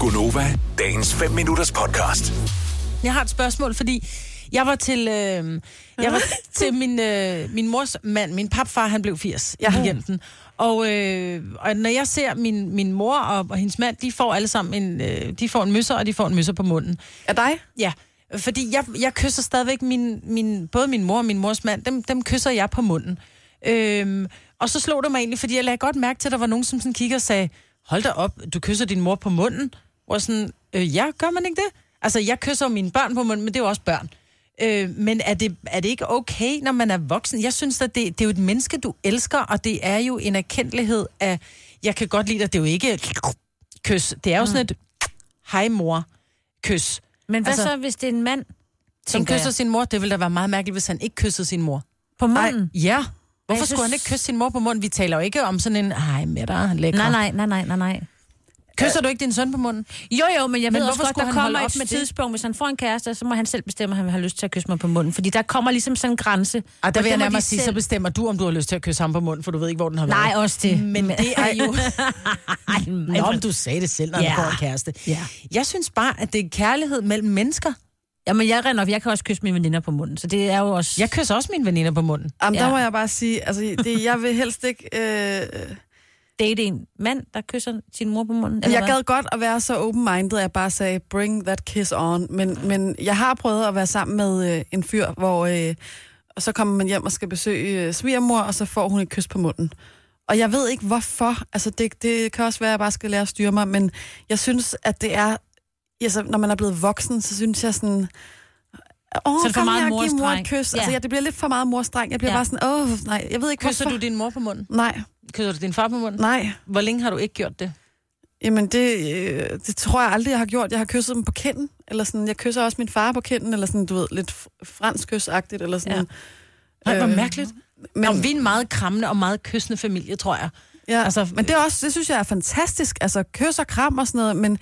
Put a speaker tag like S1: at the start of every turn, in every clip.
S1: Gunova, dagens 5 minutters podcast.
S2: Jeg har et spørgsmål, fordi jeg var til, øh, jeg var til min, øh, min mors mand, min papfar, han blev 80 i weekenden. Og, øh, og når jeg ser min, min mor og, og hendes mand, de får alle sammen en, øh, de får en møsser, og de får en møsser på munden.
S3: Er dig?
S2: Ja, fordi jeg, jeg kysser stadigvæk min, min, både min mor og min mors mand, dem, dem kysser jeg på munden. Øhm, og så slog det mig egentlig, fordi jeg lagde godt mærke til, at der var nogen, som sådan kiggede og sagde, hold da op, du kysser din mor på munden. Og sådan, øh, ja, gør man ikke det? Altså, jeg kysser mine børn på munden, men det er jo også børn. Øh, men er det, er det ikke okay, når man er voksen? Jeg synes, at det, det er jo et menneske, du elsker, og det er jo en erkendelighed af, jeg kan godt lide dig, det er jo ikke et kys. Det er jo sådan et, hej mor, kys.
S4: Men hvad
S2: Altså-
S4: altså, så, hvis det er en mand,
S2: Som
S4: tænker
S2: kysser
S4: jeg,
S2: sin mor, det ville da være meget mærkeligt, hvis han ikke kyssede sin mor.
S4: på munden?
S2: Ja. Hvorfor
S4: jeg
S2: skulle han
S4: synes-
S2: ikke kysse sin mor på munden? Vi taler jo ikke om sådan en, ej med dig, lækker.
S4: Nej, nej, nej, nej, nej, nej.
S2: Kysser du ikke din søn på munden?
S4: Jo, jo, men jeg
S2: Men
S4: men ved også
S2: hvorfor
S4: godt,
S2: skulle
S4: der
S2: han holde
S4: kommer
S2: op
S4: et
S2: med det?
S4: tidspunkt, hvis han får en kæreste, så må han selv bestemme, om han har lyst til at kysse mig på munden. Fordi der kommer ligesom sådan en grænse.
S2: Og der vil jeg
S4: må de
S2: nærmere sige, så
S4: selv-
S2: bestemmer du, om du har lyst til at kysse ham på munden, for du ved ikke, hvor den har været.
S4: Nej, også det.
S2: Men det er jo... Nå,
S4: Ej,
S2: om du sagde det selv, når
S4: Ja.
S2: du får en kæreste.
S4: Ja.
S2: Jeg synes bare, at det er kærlighed mellem mennesker.
S4: Jamen, jeg render op. Jeg kan også kysse mine veninder på munden, så det er jo også...
S2: Jeg kysser også mine veninder på munden.
S3: Jamen, der
S4: Ja.
S3: må jeg bare sige, altså, det, jeg vil helst ikke... Øh,
S4: date en mand, der kysser sin mor på munden?
S3: jeg
S4: hvad?
S3: gad godt at være så open-minded, at jeg bare sagde, bring that kiss on. Men, men jeg har prøvet at være sammen med øh, en fyr, hvor... Øh, og så kommer man hjem og skal besøge øh, svigermor, og så får hun et kys på munden. Og jeg ved ikke, hvorfor. Altså, det, det kan også være, at jeg bare skal lære at styre mig, men jeg synes, at det er... Altså, når man er blevet voksen, så synes jeg sådan... Åh,
S4: Så er
S3: oh,
S4: det for
S3: kom
S4: meget
S3: her og giv mor et
S4: morstreng."
S3: kys. Ja.
S4: Ja.
S3: Altså, ja, det bliver lidt for meget morstreng. Jeg bliver ja.
S4: Ja.
S3: bare sådan, åh, oh, nej, jeg ved ikke,
S2: Kysser
S3: hvorfor.
S2: du din mor på munden?
S3: Nej,
S2: Kysser du din far på munden?
S3: nej.
S2: Hvor længe har du ikke gjort det?
S3: Jamen, det, øh, det tror jeg aldrig, jeg har gjort. Jeg har kysset dem på kinden, eller sådan. Jeg kysser også min far på kinden, eller sådan, du ved, lidt fr- fransk kysagtigt, eller sådan.
S2: Nej, hvor
S3: Øh,
S2: mærkeligt.
S3: Men,
S2: Nå, vi er en meget krammende og meget kyssende familie, tror jeg.
S3: ja,
S2: altså-
S3: altså, men det, er også, det synes jeg er fantastisk, altså kys og kram og sådan noget, men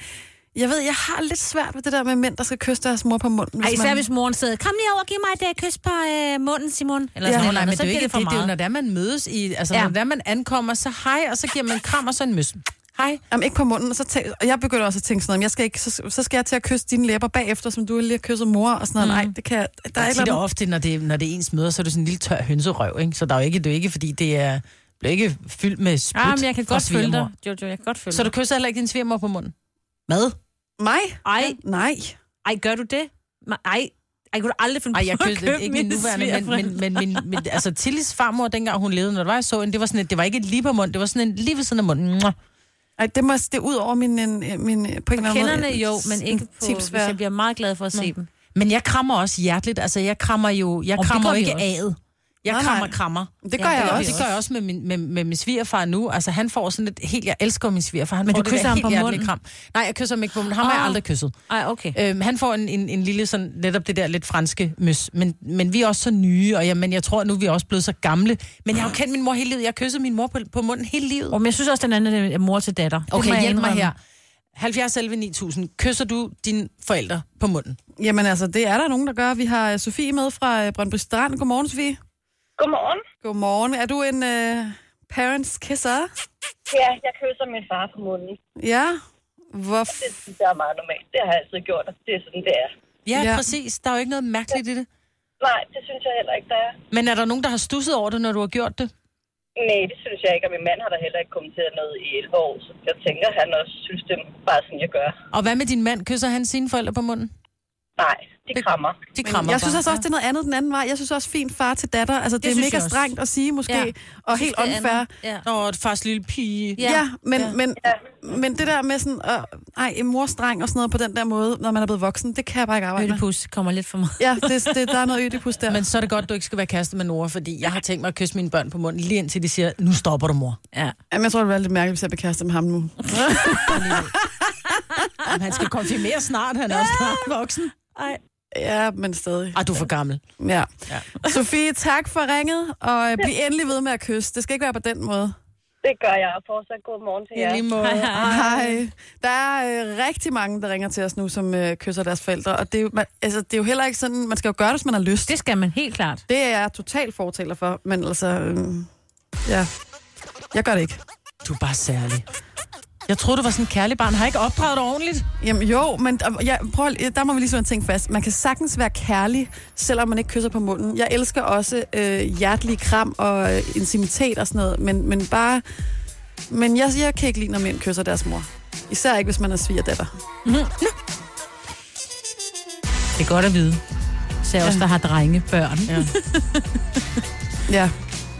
S3: jeg ved, jeg har lidt svært ved det der med mænd, der skal kysse deres mor på munden.
S4: Ej, især hvis moren sidder, kom lige over og giv mig et øh, kys på øh, munden, Simon. Eller
S2: Ja,
S4: sådan
S2: nej,
S4: noget,
S2: nej,
S4: andet.
S2: men det
S4: så
S2: er jo
S4: bliver
S2: ikke
S4: det
S2: det,
S4: for
S2: det, det er jo,
S4: meget.
S2: når det er, man mødes i, altså ja.
S4: Ja.
S2: når det er, man ankommer, så hej, og så giver man en kram og så en møs. Hej.
S3: Jamen, ikke på munden, og, så tæ- og jeg begynder også at tænke sådan noget, "Men jeg skal ikke, så, så skal jeg til at kysse dine læber bagefter, som du lige har kysset mor, og sådan noget. Nej, det kan jeg, der er
S2: Der
S3: ikke
S2: er Mm. det ofte, når det, når det er ens møder, så er det sådan en lille tør hønserøv, ikke? Så der er jo ikke, det er jo ikke, fordi det er, bliver ikke fyldt med spyt
S4: Ah, men jeg kan
S2: fra
S4: godt følge dig.
S2: svigermor.
S4: Jo, jo, jeg kan godt følge
S2: Så du kysser heller ikke din svigermor på munden? Hvad?
S3: Mig?
S4: Ej,
S3: Nej.
S4: ej, gør du det? Nej, ej, ej, kunne du aldrig finde
S2: Nej, jeg
S4: på at
S2: kysser
S4: købe
S2: ikke min
S4: mine
S2: nuværende, men,
S4: svigerforældre?
S2: men, men, men, men, altså Tillys farmor, dengang hun levede, når det var, jeg så hende, det var sådan et, det var ikke et lige på munden, det var sådan en lige ved siden af munden. Mwah.
S3: Ej, det, må, det er ud over min, en, min på en eller anden
S4: Kenderne
S3: måde, øh,
S4: jo, men ikke på,
S3: tips
S4: hvis jeg bliver meget glad for at se dem.
S2: Men jeg krammer også hjerteligt, altså jeg krammer jo, jeg
S4: det
S2: krammer
S4: gør
S2: jo
S4: vi
S2: ikke
S4: også.
S2: aget. Jeg
S3: Nej, nej.
S2: krammer krammer.
S3: Det gør
S4: Ja,
S3: ja,
S4: det
S3: jeg
S4: gør
S2: Og
S3: også.
S2: det gør jeg også med min, med, med min svigerfar nu. Altså, han får sådan et helt... Jeg elsker min svigerfar. Han
S4: Men
S2: får
S4: du
S2: det
S4: kysser
S2: der
S4: ham
S2: helt
S4: på
S2: hjertelige
S4: munden?
S2: Kram. Nej, jeg kysser ham ikke på munden. Ham har jeg
S4: Åh.
S2: aldrig kysset.
S4: Ej, okay.
S2: Øhm, han får en, en, en lille sådan, netop det der lidt franske møs. Men, men vi er også så nye, og jeg, men jeg tror, nu er vi også blevet så gamle. Men jeg har jo kendt min mor hele livet. Jeg har kysset min mor på, på munden hele livet.
S4: Og, men jeg synes også, den anden er mor til datter. Det må
S2: Okay,
S4: jeg
S2: hjælp mig
S4: indrømme.
S2: her. 70 11 9000. Kysser du dine forældre på munden?
S3: Jamen altså, det er der nogen, der gør. Vi har øh, Sofie med fra øh, Brøndby Strand. Godmorgen, Sofie.
S5: Godmorgen.
S3: Godmorgen. Er du en øh, parents kisser?
S5: Ja, jeg kysser min far på munden.
S3: Ja. Hvor...
S5: Det synes jeg er meget normalt. Det har jeg altid gjort, og det er sådan, det er.
S2: Ja, ja,
S3: Ja.
S2: præcis. Der er jo ikke noget mærkeligt i det.
S5: Nej, det synes jeg heller ikke, der er.
S2: Men er der nogen, der har stusset over det, når du har gjort det?
S5: Nej, det synes jeg ikke, og min mand har da heller ikke kommenteret noget i 11 år, så jeg tænker, han også synes, det er bare sådan, jeg gør.
S2: Og hvad med din mand? Kysser han sine forældre på munden?
S5: Nej, de krammer.
S2: De krammer
S3: Jeg synes
S2: bare.
S3: altså også, det er noget andet den anden vej. Jeg synes også, fint far til datter. Altså, det, det er
S4: synes
S3: mega
S4: jeg også.
S3: strengt at sige, måske.
S4: Ja.
S3: Ja. Og helt
S4: Det er
S3: unfair.
S4: andet. Ja.
S2: Nå, et fars lille pige.
S4: Ja.
S3: Ja, ja, men, ja. Men, men det der med sådan, øh, ej, en morstreng og sådan noget på den der måde, når man er blevet voksen, det kan jeg bare ikke arbejde med.
S4: Ødipus kommer lidt for meget.
S3: Ja, det, det, der er noget ødipus der.
S2: Men så er det godt, du ikke skal være kæreste med Nora, fordi jeg har tænkt mig at kysse mine børn på munden, lige indtil de siger, nu stopper du, mor.
S4: Ja.
S3: Jamen, jeg tror, det var lidt mærkeligt, hvis jeg blev kæreste med ham nu.
S2: Jamen, han skal konfirmere snart, han er også snart voksen.
S3: Ja, men stadig.
S2: Ej, du er for gammel.
S3: Ja.
S2: Ja.
S3: ja. Sofie, tak for ringet, og øh, bliv endelig ved med at kysse. Det skal ikke være på den måde.
S5: Det gør jeg, og fortsat god morgen til jer.
S2: Ja. Måde.
S3: Hej. Der er øh, rigtig mange, der ringer til os nu, som øh, kysser deres forældre, og det er, jo, man, altså, det er jo heller ikke sådan, man skal jo gøre det, hvis man har lyst.
S4: Det skal man helt klart.
S3: Det er jeg totalt fortaler for, men altså, øh, ja, jeg gør det ikke.
S2: Du er bare særlig. Jeg troede, du var sådan en kærlig barn. Har jeg ikke opdraget dig ordentligt?
S3: Jamen jo, men der- jeg, prøv, at- der må vi lige slå en ting fast. Man kan sagtens være kærlig, selvom man ikke kysser på munden. Jeg elsker også øh, hjertelig kram og øh, intimitet og sådan noget, men, men bare... Men jeg, jeg kan ikke lide, når mænd kysser deres mor. Især ikke, hvis man er svigerdatter.
S4: Det er godt at vide. Så jeg også, der har drengebørn. Ja.
S3: Ja.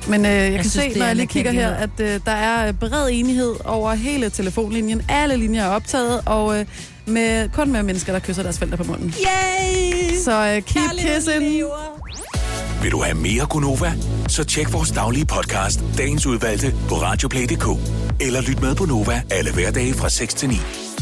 S3: Men øh, jeg, jeg kan
S4: synes,
S3: synes,
S4: det
S3: se,
S4: er
S3: når jeg lige
S4: anerkendelighed.
S3: kigger her, at øh, der er øh, bred enighed over hele telefonlinjen. Alle linjer er optaget, og øh, med, kun med mennesker, der kysser deres forældre på munden.
S2: Yay!
S3: Så øh, keep kissing.
S1: Vil du have mere Gunova? Så tjek vores daglige podcast, dagens udvalgte, på radioplay.dk. Eller lyt med på Nova alle hverdage fra 6 til 9.